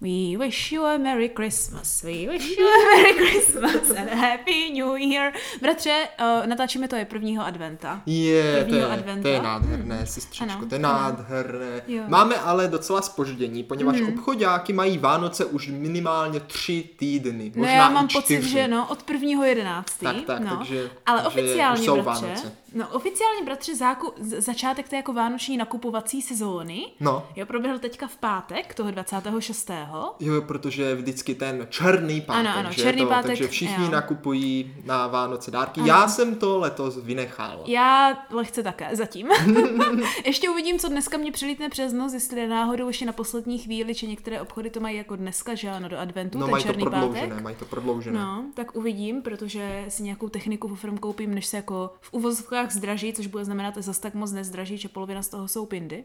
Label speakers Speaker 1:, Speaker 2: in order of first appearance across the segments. Speaker 1: We wish you a Merry Christmas, we wish you a Merry Christmas and a Happy New Year. Bratře, uh, natáčíme to je prvního adventa.
Speaker 2: Je, to
Speaker 1: Prvního
Speaker 2: je, to
Speaker 1: adventa.
Speaker 2: je nádherné, hmm. sestřičko,
Speaker 1: Ano,
Speaker 2: to je
Speaker 1: ano.
Speaker 2: nádherné.
Speaker 1: Jo.
Speaker 2: Máme ale docela spoždění, poněvadž hmm. obchodáky mají Vánoce už minimálně tři týdny, možná
Speaker 1: no já mám
Speaker 2: i čtyři.
Speaker 1: pocit, že no, od prvního jedenáctý.
Speaker 2: Tak, tak,
Speaker 1: no.
Speaker 2: takže-
Speaker 1: Ale
Speaker 2: takže
Speaker 1: oficiálně,
Speaker 2: už jsou
Speaker 1: bratře,
Speaker 2: Vánoce.
Speaker 1: no, oficiálně, bratře, záku, z- začátek té jako vánoční nakupovací sezóny,
Speaker 2: No,
Speaker 1: jo, proběhl teďka v pátek, toho 26.
Speaker 2: jo, protože je vždycky ten černý pátek,
Speaker 1: Ano, ano,
Speaker 2: že
Speaker 1: černý
Speaker 2: to,
Speaker 1: pátek,
Speaker 2: takže všichni
Speaker 1: jo.
Speaker 2: nakupují na Vánoce dárky. Já jsem to letos vynechal.
Speaker 1: Já lehce také, zatím. Ještě uvidím, co dneska mě přelítne přes noc, jestli náhodou ještě na poslední chvíli, či některé obchody to mají jako dneska, že ano, do adventu,
Speaker 2: no,
Speaker 1: ten
Speaker 2: mají to
Speaker 1: černý
Speaker 2: prodloužené,
Speaker 1: pátek.
Speaker 2: mají to prodloužené.
Speaker 1: No, tak uvidím, protože si nějakou techniku firm koupím, než se jako v uvozovkách zdraží, což bude znamenat, že zase tak moc nezdraží, že polovina z toho jsou pindy.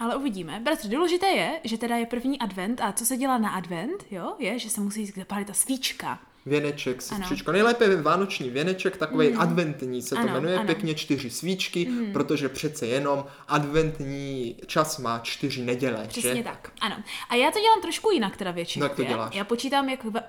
Speaker 1: Ale uvidíme. Bratře, důležité je, že teda je první advent a co se dělá na advent, jo, je, že se musí zapálit ta svíčka.
Speaker 2: Věneček, sestřičko. Nejlépe vánoční věneček, takový adventní se to
Speaker 1: Mm. Ano, Mm.
Speaker 2: jmenuje,
Speaker 1: ano.
Speaker 2: pěkně čtyři svíčky, protože přece jenom adventní čas má čtyři neděle,
Speaker 1: Přesně
Speaker 2: že?
Speaker 1: tak, ano. A já to dělám trošku jinak teda většinou.
Speaker 2: Jak to
Speaker 1: je.
Speaker 2: děláš?
Speaker 1: Já počítám jak va-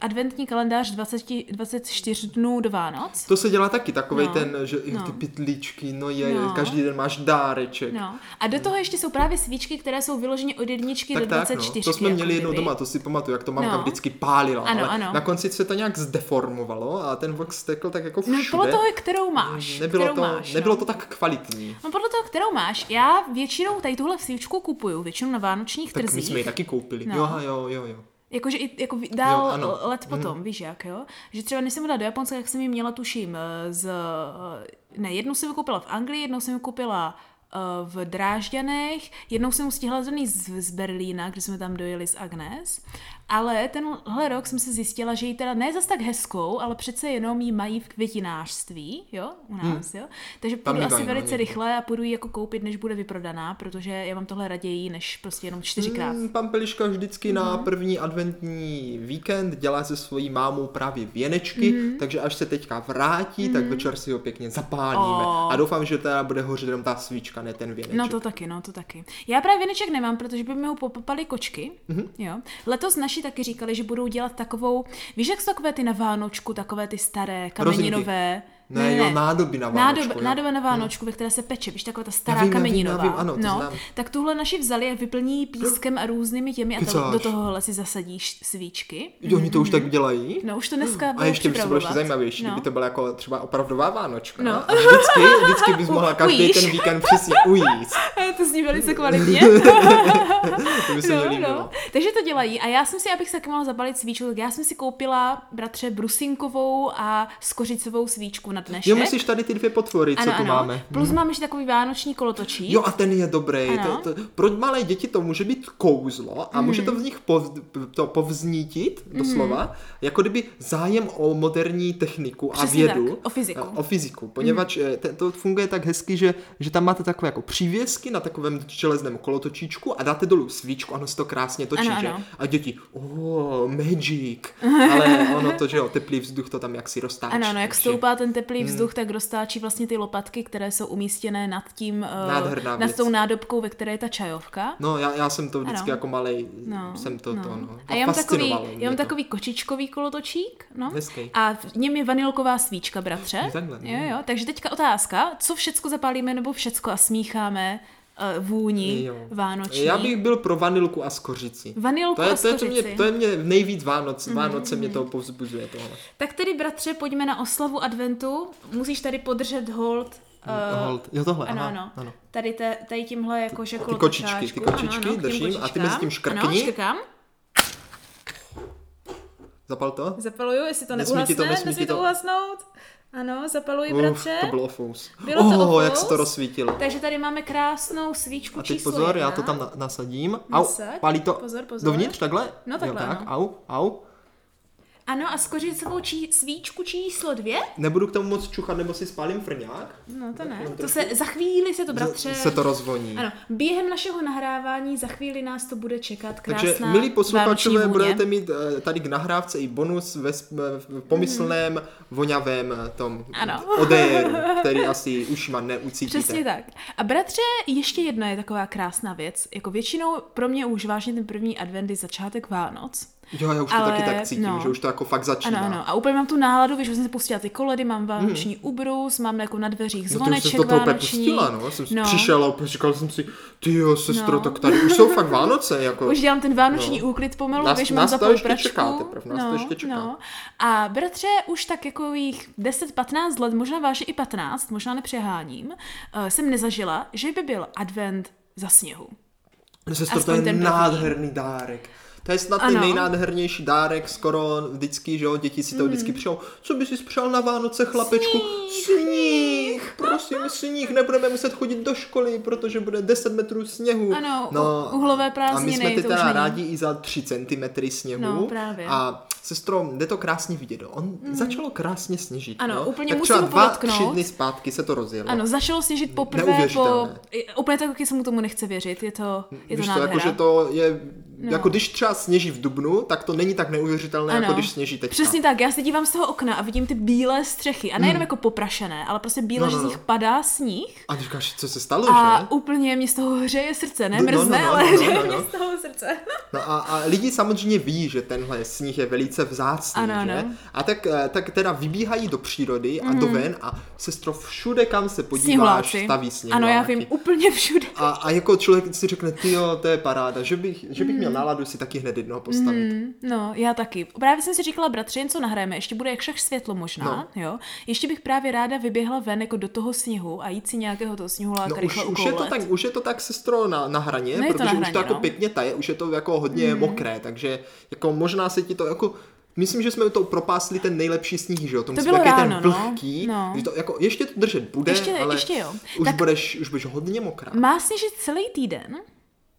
Speaker 1: adventní kalendář 20, 24 dnů do Vánoc.
Speaker 2: To se dělá taky, takovej
Speaker 1: No,
Speaker 2: ten, že jo, ty
Speaker 1: no.
Speaker 2: pytlíčky, no je,
Speaker 1: No.
Speaker 2: každý den máš dáreček.
Speaker 1: No. A do toho ještě jsou právě svíčky, které jsou vyloženě od jedničky
Speaker 2: Tak
Speaker 1: do
Speaker 2: tak,
Speaker 1: 24.
Speaker 2: no. to jsme
Speaker 1: jako
Speaker 2: měli jednou
Speaker 1: kdyby.
Speaker 2: doma, to si pamatuju, jak to mamka
Speaker 1: No.
Speaker 2: vždycky pálila,
Speaker 1: Ano,
Speaker 2: ale
Speaker 1: ano.
Speaker 2: na konci se to nějak zdeformovalo a ten vox tekl tak jako všude. Mm,
Speaker 1: No, podle toho, kterou máš.
Speaker 2: nebylo,
Speaker 1: kterou
Speaker 2: to,
Speaker 1: máš,
Speaker 2: nebylo
Speaker 1: no.
Speaker 2: to tak kvalitní.
Speaker 1: No podle toho, kterou máš. Já většinou tady tuhle svíčku kupuju, většinou na vánočních
Speaker 2: Tak my
Speaker 1: trzích.
Speaker 2: jsme ji taky koupili.
Speaker 1: No.
Speaker 2: Jo, jo, jo, jo.
Speaker 1: Jakože i jako vi- dál
Speaker 2: Jo,
Speaker 1: jo,
Speaker 2: ano. Mhm.
Speaker 1: let potom, víš jak, jo? Že třeba než jsem byla do Japonska, tak jsem ji měla, tuším, eh, z... eh, Ne, jednu jsem ji koupila v Anglii, jednou jsem ji koupila eh, v Drážďanech, jednou jsem ji stihla zrovna z, z Berlína, kde jsme tam dojeli s Agnes, ale tenhle rok jsem se zjistila, že ji teda ne zas tak hezkou, ale přece jenom ji mají v květinářství, jo, u nás, jo. Takže
Speaker 2: Mhm. Tam
Speaker 1: půjdu
Speaker 2: ji
Speaker 1: asi
Speaker 2: mají, no,
Speaker 1: velice
Speaker 2: někde.
Speaker 1: rychle a půjdu ji jako koupit, než bude vyprodaná, protože já mám tohle raději, než prostě jenom čtyřikrát.
Speaker 2: Mm, Pan Peliška vždycky na
Speaker 1: Mhm.
Speaker 2: první adventní víkend dělá se svojí mámou právě věnečky,
Speaker 1: Mhm.
Speaker 2: takže až se teďka vrátí, tak večer si ho pěkně zapálíme.
Speaker 1: Oh.
Speaker 2: A doufám, že teda bude hořet jenom ta svíčka, ne ten věneček.
Speaker 1: No to taky, no to taky. Já právě věneček nemám, protože by mi ho popapaly kočky.
Speaker 2: Mhm.
Speaker 1: Mm-hmm. Jo. Letos naši taky říkali, že budou dělat takovou, víš jak jsou takové ty na Vánočku, takové ty staré, kameninové.
Speaker 2: Ne, jo, nádoby na Vánočku,
Speaker 1: Nádob,
Speaker 2: jo.
Speaker 1: nádoba na Vánočku, ve které se peče, víš, taková ta stará
Speaker 2: vím, já vím,
Speaker 1: kameninová.
Speaker 2: já vím, ano, to
Speaker 1: no,
Speaker 2: znám.
Speaker 1: tak tuhle naši vzali a vyplní pískem a různými těmi a to,
Speaker 2: Kecáš.
Speaker 1: do tohohle si zasadíš svíčky.
Speaker 2: Jo, Oni to už tak dělají?
Speaker 1: No už to dneska
Speaker 2: A
Speaker 1: budou
Speaker 2: ještě by to bylo ještě
Speaker 1: připravovat.
Speaker 2: zajímavější,
Speaker 1: no.
Speaker 2: kdyby to byla jako třeba opravdová Vánočka.
Speaker 1: No.
Speaker 2: A vždycky, vždycky bys mohla každý
Speaker 1: ujíš.
Speaker 2: ten víkend přesně ujíst.
Speaker 1: To zní velice kvalitně.
Speaker 2: To by
Speaker 1: No,
Speaker 2: se mi líbilo.
Speaker 1: Takže to dělají. A já jsem si, abych se taky mohla zabalit svíčku, tak já jsem si koupila, bratře, brusinkovou a skořicovou svíčku na dnešek.
Speaker 2: Jo, myslíš tady ty dvě potvory, co
Speaker 1: ano,
Speaker 2: tu
Speaker 1: ano.
Speaker 2: máme? Mhm.
Speaker 1: Plus máme ještě takový vánoční kolotočí.
Speaker 2: Jo, a ten je dobrý.
Speaker 1: Ano. Mhm.
Speaker 2: To, to, pro malé děti to může být kouzlo a může to v nich pov, to povznítit, doslova, jako kdyby zájem o moderní techniku
Speaker 1: Přesně
Speaker 2: a vědu. Eh,
Speaker 1: tak, o fyziku. Mhm.
Speaker 2: O fyziku, poněvadž eh, te- to funguje tak hezky, že, že tam máte takové jako přívěsky na takovém železném kolotočíčku a dáte dolů svíčku, ono se to krásně točí,
Speaker 1: Ano,
Speaker 2: že?
Speaker 1: ano.
Speaker 2: A děti, oh, magic. Ale ono to, že jo, teplý vzduch to tam jaksi roztáčí.
Speaker 1: Ano, no, jak
Speaker 2: takže-
Speaker 1: stoupá ten teplý
Speaker 2: Mhm.
Speaker 1: vzduch, tak roztáčí vlastně ty lopatky, které jsou umístěné nad tím, eh,
Speaker 2: Nádherná
Speaker 1: nad
Speaker 2: věc.
Speaker 1: tou nádobkou, ve které je ta čajovka.
Speaker 2: No, já, já jsem to vždycky
Speaker 1: Ano.
Speaker 2: jako malý,
Speaker 1: No,
Speaker 2: jsem to,
Speaker 1: no.
Speaker 2: to, no.
Speaker 1: A já mám, takový,
Speaker 2: Fascinovalo mě
Speaker 1: já mám
Speaker 2: to.
Speaker 1: takový kočičkový kolotočík, no.
Speaker 2: Hezký.
Speaker 1: A v něm je vanilková svíčka, bratře.
Speaker 2: Jo, takhle, no.
Speaker 1: jo, jo. Takže teďka otázka, co všecko zapálíme nebo všecko a smícháme uh, vůni
Speaker 2: Jo.
Speaker 1: vánoční.
Speaker 2: Já bych byl pro vanilku a skořici.
Speaker 1: Vanilku
Speaker 2: To je,
Speaker 1: a
Speaker 2: to, je, to, mě,
Speaker 1: skořici. Mhm,
Speaker 2: to je mě nejvíc Vánoc. Vánoce mě to povzbuzuje tohle.
Speaker 1: Tak tedy, bratře, pojďme na oslavu adventu. Musíš tady podržet hold. eh,
Speaker 2: Hold. Jo, tohle,
Speaker 1: ano,
Speaker 2: aha,
Speaker 1: ano.
Speaker 2: ano.
Speaker 1: Tady, te, tady tímhle jako, jakože
Speaker 2: ty kočičky, ty kočičky držím a ty mezi tím škrkni.
Speaker 1: Ano, škrkám.
Speaker 2: Zapal to?
Speaker 1: Zapaluju, jestli to
Speaker 2: Nesmí
Speaker 1: neuhasne,
Speaker 2: ti to, nesmí ti
Speaker 1: nesmí to
Speaker 2: to.
Speaker 1: uhasnout. Ano, zapaluji,
Speaker 2: Uf,
Speaker 1: bratře.
Speaker 2: to bylo fous.
Speaker 1: Bylo to
Speaker 2: oh,
Speaker 1: o
Speaker 2: jak
Speaker 1: fous.
Speaker 2: se to rozsvítilo.
Speaker 1: Takže tady máme krásnou svíčku
Speaker 2: A teď
Speaker 1: číslo
Speaker 2: pozor,
Speaker 1: jedna.
Speaker 2: já to tam na, nasadím. Au,
Speaker 1: Nasaď.
Speaker 2: pálí to
Speaker 1: Pozor, pozor.
Speaker 2: dovnitř takhle?
Speaker 1: No, takhle,
Speaker 2: jo, tak,
Speaker 1: ano.
Speaker 2: au, au.
Speaker 1: Ano, a skořicovou či, svíčku číslo dvě?
Speaker 2: Nebudu k tomu moc čuchat, nebo si spálím frňák.
Speaker 1: No to ne. To se, za chvíli se to, bratře...
Speaker 2: Se to rozvoní.
Speaker 1: Ano, během našeho nahrávání za chvíli nás to bude čekat krásná
Speaker 2: Takže, milí posluchačové,
Speaker 1: vánoční vůně.
Speaker 2: budete mít eh, tady k nahrávce i bonus ve s- v pomyslném, voňavém eh, tom
Speaker 1: Mhm. Ano.
Speaker 2: odéru, který asi už ma neucítíte.
Speaker 1: Přesně tak. A bratře, ještě jedna je taková krásná věc. Jako většinou pro mě už vážně ten první advent je začátek Vánoc.
Speaker 2: Jo, já už to
Speaker 1: Ale
Speaker 2: taky tak cítím,
Speaker 1: no.
Speaker 2: že už to jako fakt začíná.
Speaker 1: Ano, ano. A úplně mám tu náladu, víš, že jsem si pustila ty koledy, mám vánoční hmm. ubrus, mám jako na dveřích
Speaker 2: Mhm. No, ty už
Speaker 1: zvoneček
Speaker 2: jsem to úplně
Speaker 1: vánoční.
Speaker 2: pustila, no. Jsem
Speaker 1: No.
Speaker 2: no. přišel a úplně říkal jsem si, ty jo, sestro,
Speaker 1: No.
Speaker 2: no. tak tady už jsou fakt Vánoce, jako.
Speaker 1: Už dělám ten vánoční
Speaker 2: No.
Speaker 1: no. úklid pomalu,
Speaker 2: Nás-
Speaker 1: víš, mám
Speaker 2: nás
Speaker 1: za
Speaker 2: to ještě
Speaker 1: pračku.
Speaker 2: čeká teprve, nás to ještě čeká.
Speaker 1: No. A bratře, už tak jako jich 10-15 let, možná vážně i 15, možná nepřeháním, eh, jsem nezažila, že by byl advent za sněhu.
Speaker 2: Sestro, to
Speaker 1: Aspoň
Speaker 2: je
Speaker 1: ten první.
Speaker 2: nádherný dárek. To je snad
Speaker 1: Ano.
Speaker 2: ten nejnádhernější dárek skoro vždycky, že jo, děti si
Speaker 1: Mhm.
Speaker 2: to vždycky přijou. Co by si přál na Vánoce, chlapečku? Sníh, prosím, sníh, nebudeme muset chodit do školy, protože bude 10 metrů sněhu. No,
Speaker 1: Ano, u- uhlové
Speaker 2: A
Speaker 1: prázdniny,
Speaker 2: my jsme
Speaker 1: to
Speaker 2: ty
Speaker 1: už
Speaker 2: teda
Speaker 1: není.
Speaker 2: rádi i za 3 cm sněhu.
Speaker 1: No, právě. Mhm.
Speaker 2: A sestro, jde to krásně vidět. On začalo krásně sněžit.
Speaker 1: Ano,
Speaker 2: no.
Speaker 1: úplně
Speaker 2: tak
Speaker 1: musím
Speaker 2: třeba dva,
Speaker 1: podotknout.
Speaker 2: tři dny zpátky se to rozjelo.
Speaker 1: Ano, začalo sněžit poprvé po...
Speaker 2: No. Neuvěřitelné.
Speaker 1: i- Úplně tak, jak se mu tomu nechce věřit, je to, je to
Speaker 2: Víš to,
Speaker 1: nádhera.
Speaker 2: jako, že to je, no. jako když třeba sněží v Dubnu, tak to není tak neuvěřitelné, ano. jako když sněží teďka.
Speaker 1: Přesně tak, já se dívám z toho okna a vidím ty bílé střechy. A nejenom jako poprašené, ale prostě bílé,
Speaker 2: Hmm. No,
Speaker 1: že
Speaker 2: no,
Speaker 1: z
Speaker 2: no.
Speaker 1: nich padá sníh.
Speaker 2: A říkáš, co se stalo,
Speaker 1: A
Speaker 2: že?
Speaker 1: úplně mě z toho hřeje srdce, ne
Speaker 2: No, no, no,
Speaker 1: mrzne,
Speaker 2: no,
Speaker 1: ale
Speaker 2: no, no,
Speaker 1: hřeje
Speaker 2: no,
Speaker 1: mě
Speaker 2: no.
Speaker 1: z toho srdce.
Speaker 2: No a, a lidi samozřejmě ví, že tenhle sníh je velice vzácný,
Speaker 1: Ano,
Speaker 2: že?
Speaker 1: ano. Mhm.
Speaker 2: A tak, eh, tak teda vybíhají do přírody a do ven a sestro všude, kam se podíváš,
Speaker 1: Sněhuláci.
Speaker 2: staví no,
Speaker 1: Ano,
Speaker 2: sněhuláky.
Speaker 1: já vím, úplně všude.
Speaker 2: A, a jako člověk si řekne, ty jo, to je paráda, že bych, že bych měl
Speaker 1: Mhm.
Speaker 2: náladu si taky hned jednoho postavit.
Speaker 1: Mm, No, já taky. Právě jsem si říkala, bratře, jen co nahrajeme, ještě bude jak však světlo možná, no. jo. Ještě bych právě ráda vyběhla ven jako do toho sněhu a jít si nějakého toho sněhuláka
Speaker 2: No už,
Speaker 1: rychle
Speaker 2: už, je to
Speaker 1: ukoulet.
Speaker 2: tak, už je to tak, sestro, na, na hraně,
Speaker 1: No, je to
Speaker 2: protože
Speaker 1: na
Speaker 2: už
Speaker 1: hraně,
Speaker 2: to jako
Speaker 1: no. Mhm.
Speaker 2: pěkně taje, už je to jako hodně mm. mokré, takže jako možná se ti to jako... Myslím, že jsme to propásli ten nejlepší sníh, že jo? To, musí být
Speaker 1: bylo
Speaker 2: takový
Speaker 1: ráno,
Speaker 2: ten
Speaker 1: no.
Speaker 2: vlhký,
Speaker 1: No.
Speaker 2: kdy to jako ještě to držet bude,
Speaker 1: Ještě-
Speaker 2: ale
Speaker 1: ještě jo.
Speaker 2: Už,
Speaker 1: Tak- No,
Speaker 2: budeš, už budeš hodně mokrá.
Speaker 1: Má sněžit celý týden,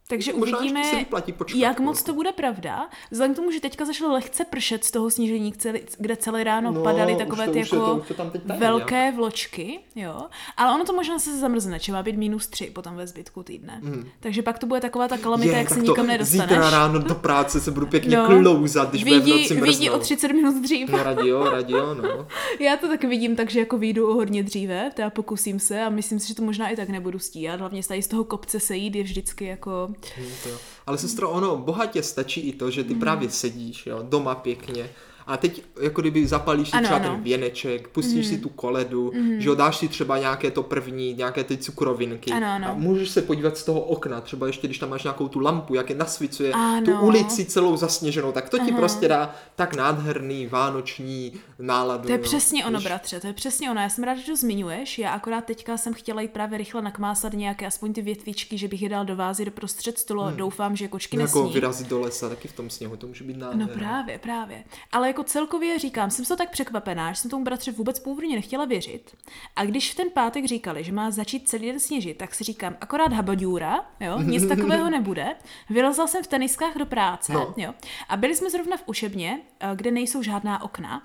Speaker 1: takže
Speaker 2: Možná ještě
Speaker 1: uvidíme,
Speaker 2: se vyplatí počkat jako.
Speaker 1: jak moc
Speaker 2: chvilku.
Speaker 1: to bude pravda. Vzhledem k tomu, že teďka začalo lehce pršet z toho snížení, celý- kde celé ráno
Speaker 2: No,
Speaker 1: padaly
Speaker 2: už
Speaker 1: takové
Speaker 2: to-
Speaker 1: ty
Speaker 2: už je
Speaker 1: jako
Speaker 2: to- už to tam teď taje
Speaker 1: velké vločky, jo. Ale ono to možná se zamrzne, že má být minus tři potom ve zbytku týdne. Takže pak to bude taková ta kalamita, jak
Speaker 2: Hmm. tak
Speaker 1: se
Speaker 2: to
Speaker 1: nikam nedostaneš.
Speaker 2: Zítra ráno do práce se budu pěkně no. klouzat, když bude v
Speaker 1: vidí,
Speaker 2: noci
Speaker 1: vidí o
Speaker 2: mrznout.
Speaker 1: 30 minut dřív.
Speaker 2: No radio, radio, no.
Speaker 1: Já to tak vidím, takže jako vyjdu o hodně dříve, teda pokusím se a myslím si, že to možná i tak nebudu stíhat. Hlavně tady z toho kopce sejít je vždycky jako...
Speaker 2: To jo. Ale sestro, ono bohatě stačí i to, že
Speaker 1: Hmm.
Speaker 2: ty právě sedíš jo, doma pěkně a teď jako kdyby zapalíš si
Speaker 1: Ano,
Speaker 2: třeba
Speaker 1: ano. Hmm.
Speaker 2: ten věneček, pustíš si tu koledu, že jo, dáš si třeba nějaké to první, nějaké ty cukrovinky
Speaker 1: Ano, ano.
Speaker 2: a můžeš se podívat z toho okna, třeba ještě když tam máš nějakou tu lampu, jak je nasvicuje tu
Speaker 1: Ano.
Speaker 2: ulici celou zasněženou, tak to ti prostě dá tak nádherný vánoční náladu.
Speaker 1: To je
Speaker 2: jo.
Speaker 1: přesně ono,
Speaker 2: Víš?
Speaker 1: bratře, to je přesně ono. Já jsem ráda, že to zmiňuješ. Já akorát teďka jsem chtěla jít právě rychle nakmásat nějaké aspoň ty větvičky, že bych je dal do vázy do prostřed stolu a doufám, že kočky
Speaker 2: Jako
Speaker 1: nesní.
Speaker 2: vyrazit do lesa, taky v tom sněhu, to může být
Speaker 1: No
Speaker 2: nádherné.
Speaker 1: právě, právě. Ale jako celkově říkám, jsem to tak překvapená, že jsem tomu bratře vůbec původně nechtěla věřit. A když v ten pátek říkali, že má začít celý den sněžit, tak si říkám, akorát habaďůra, jo, nic takového nebude. Vylezla jsem v teniskách do práce,
Speaker 2: No.
Speaker 1: jo. A byli jsme zrovna v učebně, eh, kde nejsou žádná okna.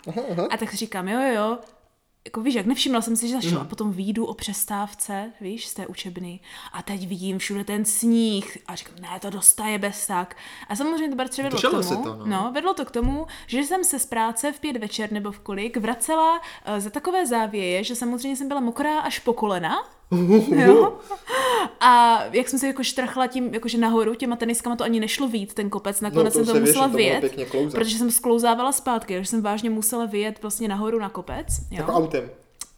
Speaker 1: A tak si říkám, jo, jo, jo, jako víš, jak nevšimla jsem si, že zašla. A potom výjdu o přestávce, víš, z té učebny. A teď vidím všude ten sníh. A říkám, ne, to dostaje bez tak. A samozřejmě to bratře vedlo
Speaker 2: Drželo
Speaker 1: k
Speaker 2: se
Speaker 1: tomu,
Speaker 2: to, no.
Speaker 1: No, vedlo to k tomu, že jsem se z práce v pět večer nebo v kolik vracela eh, za takové závěje, že samozřejmě jsem byla mokrá až po kolena. Jo. A jak jsem se jako štrachla tím, jakože nahoru, těma teniskama to ani nešlo víc, ten kopec, nakonec
Speaker 2: No,
Speaker 1: jsem
Speaker 2: to
Speaker 1: to
Speaker 2: se věřím,
Speaker 1: musela
Speaker 2: to bylo
Speaker 1: vyjet,
Speaker 2: pěkně klouzat.
Speaker 1: protože jsem sklouzávala zpátky, takže jsem vážně musela vyjet vlastně nahoru na kopec. Jo.
Speaker 2: Jako autem.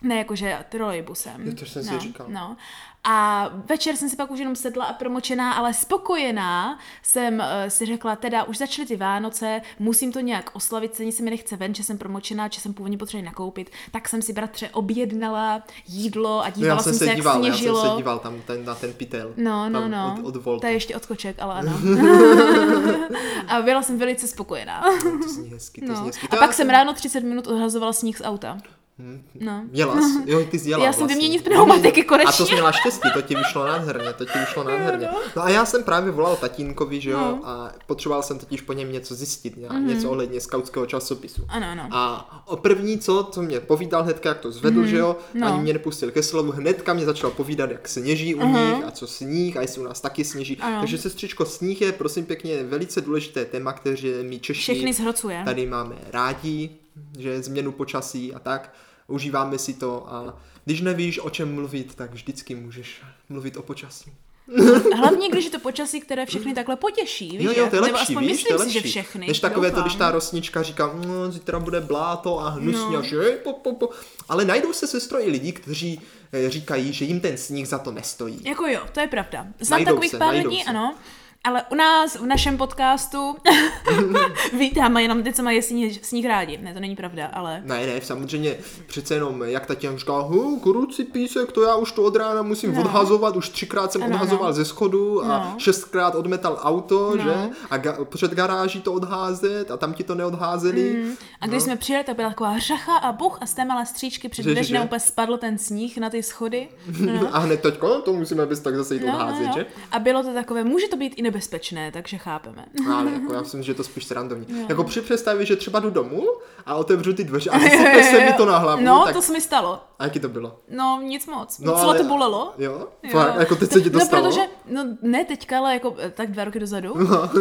Speaker 1: Ne, jakože trolejbusem.
Speaker 2: Jo, to jsem si
Speaker 1: no,
Speaker 2: říkal.
Speaker 1: No. A večer jsem si pak už jenom sedla a promočená, ale spokojená jsem eh, si řekla, teda už začaly ty Vánoce, musím to nějak oslavit, cení se mi nechce ven, že jsem promočená, že jsem původně potřebovala nakoupit, tak jsem si bratře objednala jídlo a
Speaker 2: No,
Speaker 1: dívala
Speaker 2: já jsem se,
Speaker 1: jak
Speaker 2: díval,
Speaker 1: sněžilo.
Speaker 2: já jsem se díval tam ten, na ten pytel.
Speaker 1: No, no,
Speaker 2: tam
Speaker 1: no.
Speaker 2: Od, od Voltu.
Speaker 1: to je ještě odskoček, ale ano. a byla jsem velice spokojená.
Speaker 2: To zní hezky, to
Speaker 1: No.
Speaker 2: zní hezky.
Speaker 1: A
Speaker 2: To já
Speaker 1: pak
Speaker 2: jsem- Hmm.
Speaker 1: jsem ráno 30 minut odhazovala sníh z auta. No.
Speaker 2: Měla jsi, jo, ty jsi dělala
Speaker 1: Já jsem
Speaker 2: vlastně.
Speaker 1: vyměnit pneumatiky konečně.
Speaker 2: A to jsi měla štěstí, to ti vyšlo nádherně, to ti vyšlo nádherně. No a já jsem právě volal tatínkovi, že jo,
Speaker 1: No. Mhm.
Speaker 2: a potřeboval jsem totiž po něm něco zjistit, nějak, něco ohledně skautského časopisu.
Speaker 1: Ano, ano.
Speaker 2: A o první, co, co mě povídal hnedka, jak to zvedl, že jo,
Speaker 1: no.
Speaker 2: ani mě nepustil ke slovu, hnedka mě začal povídat, jak sněží u nich a co sníh a jestli u nás taky sněží.
Speaker 1: Ano.
Speaker 2: Takže sestřičko, sníh je prosím pěkně velice důležité téma, které my Češi
Speaker 1: Všechny zhrocuje.
Speaker 2: tady máme rádi, že změnu počasí a tak, užíváme si to a když nevíš, o čem mluvit, tak vždycky můžeš mluvit o počasí.
Speaker 1: Hlavně, když je to počasí, které všechny takhle potěší, víš?
Speaker 2: Jo, jo, to
Speaker 1: že?
Speaker 2: je
Speaker 1: Nebo
Speaker 2: lepší,
Speaker 1: aspoň
Speaker 2: víš, to
Speaker 1: myslím
Speaker 2: je
Speaker 1: si,
Speaker 2: lepší.
Speaker 1: že všechny.
Speaker 2: Než takové to,
Speaker 1: doufám.
Speaker 2: když ta rosnička říká, no, zítra bude bláto a hnusně, no. že po, po, po. Ale najdou se sestro i lidi, kteří eh, říkají, že jim ten sníh za to nestojí.
Speaker 1: Jako jo, to je pravda. Znám
Speaker 2: Najdou
Speaker 1: takových
Speaker 2: se,
Speaker 1: pár
Speaker 2: najdou
Speaker 1: lidí,
Speaker 2: se.
Speaker 1: ano. Ale u nás, v našem podcastu, vítáme jenom ty, co mají sníh, sníh rádi. Ne, to není pravda, ale...
Speaker 2: Ne, ne, samozřejmě přece jenom, jak ta těm říká, "Hu, kruci písek, to já už to od rána musím no. odhazovat, už třikrát jsem
Speaker 1: Ano,
Speaker 2: odhazoval
Speaker 1: ano.
Speaker 2: ze schodu a
Speaker 1: No.
Speaker 2: šestkrát odmetal auto,
Speaker 1: No.
Speaker 2: no. že? A ga- před garáží to odházet a tam ti to neodházeli. Mm.
Speaker 1: A když jsme přijeli, tak byla taková řacha a buch a z té malé stříčky před
Speaker 2: Že, že,
Speaker 1: dveřmi
Speaker 2: že?
Speaker 1: úplně spadl ten sníh na ty schody.
Speaker 2: No. A hned teďko, to musíme bez tak zase jít no,
Speaker 1: No,
Speaker 2: odházet,
Speaker 1: no,
Speaker 2: no.
Speaker 1: no.
Speaker 2: že?
Speaker 1: A bylo to takové, může to být i nebezpečné, takže chápeme.
Speaker 2: Ale jako já myslím, že je to spíš srandovní. Jako při představě, že třeba jdu domů a otevřu ty dveře a vysype se mi to na hlavu,
Speaker 1: No,
Speaker 2: tak...
Speaker 1: to se mi stalo.
Speaker 2: A jaký to bylo?
Speaker 1: No, nic moc. No, Celá to bolelo.
Speaker 2: Jo? Fakt, jako teď se ti to
Speaker 1: no,
Speaker 2: stalo? No,
Speaker 1: protože, no ne teďka, ale jako eh, tak dva roky dozadu.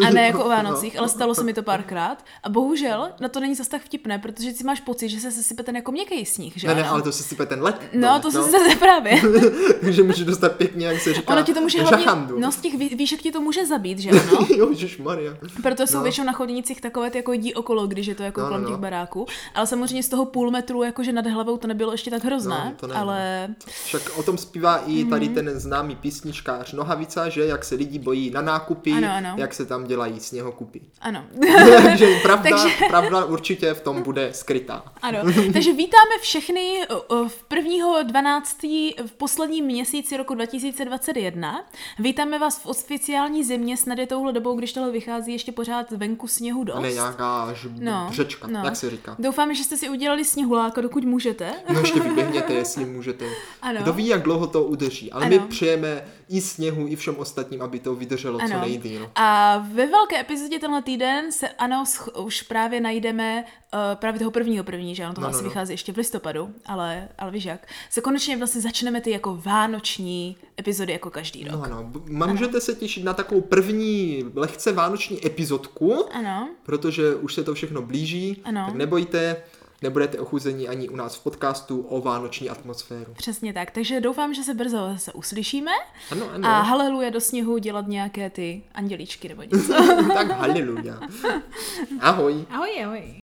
Speaker 1: A ne jako o Vánocích, ale stalo se mi to párkrát. A bohužel, na to není zas tak vtipné, protože si máš pocit, že se sesype ten jako měkký sníh, že
Speaker 2: Ne, ne,
Speaker 1: ano?
Speaker 2: ale to se sype ten let.
Speaker 1: No, to se zase právě.
Speaker 2: Takže můžeš dostat pěkně, jak se říká,
Speaker 1: Ono ti to může hlavně,
Speaker 2: žachandu.
Speaker 1: no z těch vý- výšek ti to může zabít, že ano?
Speaker 2: jo, Maria.
Speaker 1: Proto jsou
Speaker 2: No.
Speaker 1: většinou na chodnicích takové ty jako jdí okolo, když je to jako
Speaker 2: No, no,
Speaker 1: kolem
Speaker 2: no.
Speaker 1: těch baráků. Ale samozřejmě z toho půl metru, jakože nad hlavou to nebylo ještě tak hrozné,
Speaker 2: No, to ne, no.
Speaker 1: ale
Speaker 2: Však o tom zpívá
Speaker 1: Mhm.
Speaker 2: i tady ten známý písničkář Nohavica, že jak se lidi bojí na nákupy,
Speaker 1: Ano, ano.
Speaker 2: jak se tam dělají sněhokupy.
Speaker 1: ano.
Speaker 2: Takže pravda,
Speaker 1: Takže-
Speaker 2: pravda určitě v tom bude skrytá.
Speaker 1: Ano, takže vítáme všechny uh, uh, v prvního 12. v posledním měsíci roku 2021. Vítáme vás v oficiální zimě, snad je touhle dobou, když tohle vychází ještě pořád venku sněhu dost.
Speaker 2: A ne nějaká ž-
Speaker 1: No,
Speaker 2: břečka,
Speaker 1: no.
Speaker 2: jak se říká.
Speaker 1: Doufám, že jste si udělali sněhuláka, dokud můžete.
Speaker 2: No ještě vyběhněte, jestli můžete.
Speaker 1: Ano.
Speaker 2: Kdo ví, jak dlouho to udrží, ale my
Speaker 1: Ano.
Speaker 2: přejeme i sněhu, i všem ostatním, aby to vydrželo No, co
Speaker 1: Ano.
Speaker 2: nejdýl.
Speaker 1: A ve velké epizodě tenhle týden se ano, sch- už právě najdeme uh, právě toho prvního první, že ano, to no,
Speaker 2: No,
Speaker 1: asi
Speaker 2: no,
Speaker 1: no.
Speaker 2: no.
Speaker 1: vychází ještě v listopadu, ale, ale víš jak, se konečně vlastně začneme ty jako vánoční epizody jako každý rok.
Speaker 2: No ano, b- můžete se těšit na takovou první lehce vánoční epizodku,
Speaker 1: Ano,
Speaker 2: protože už se to všechno blíží,
Speaker 1: Ano.
Speaker 2: tak nebojte, nebudete ochuzení ani u nás v podcastu o vánoční atmosféru.
Speaker 1: přesně tak, takže doufám, že se brzo zase uslyšíme
Speaker 2: Ano, ano.
Speaker 1: a haleluje do sněhu dělat nějaké ty andělíčky nebo něco.
Speaker 2: tak haleluja. Ahoj.
Speaker 1: ahoj, ahoj.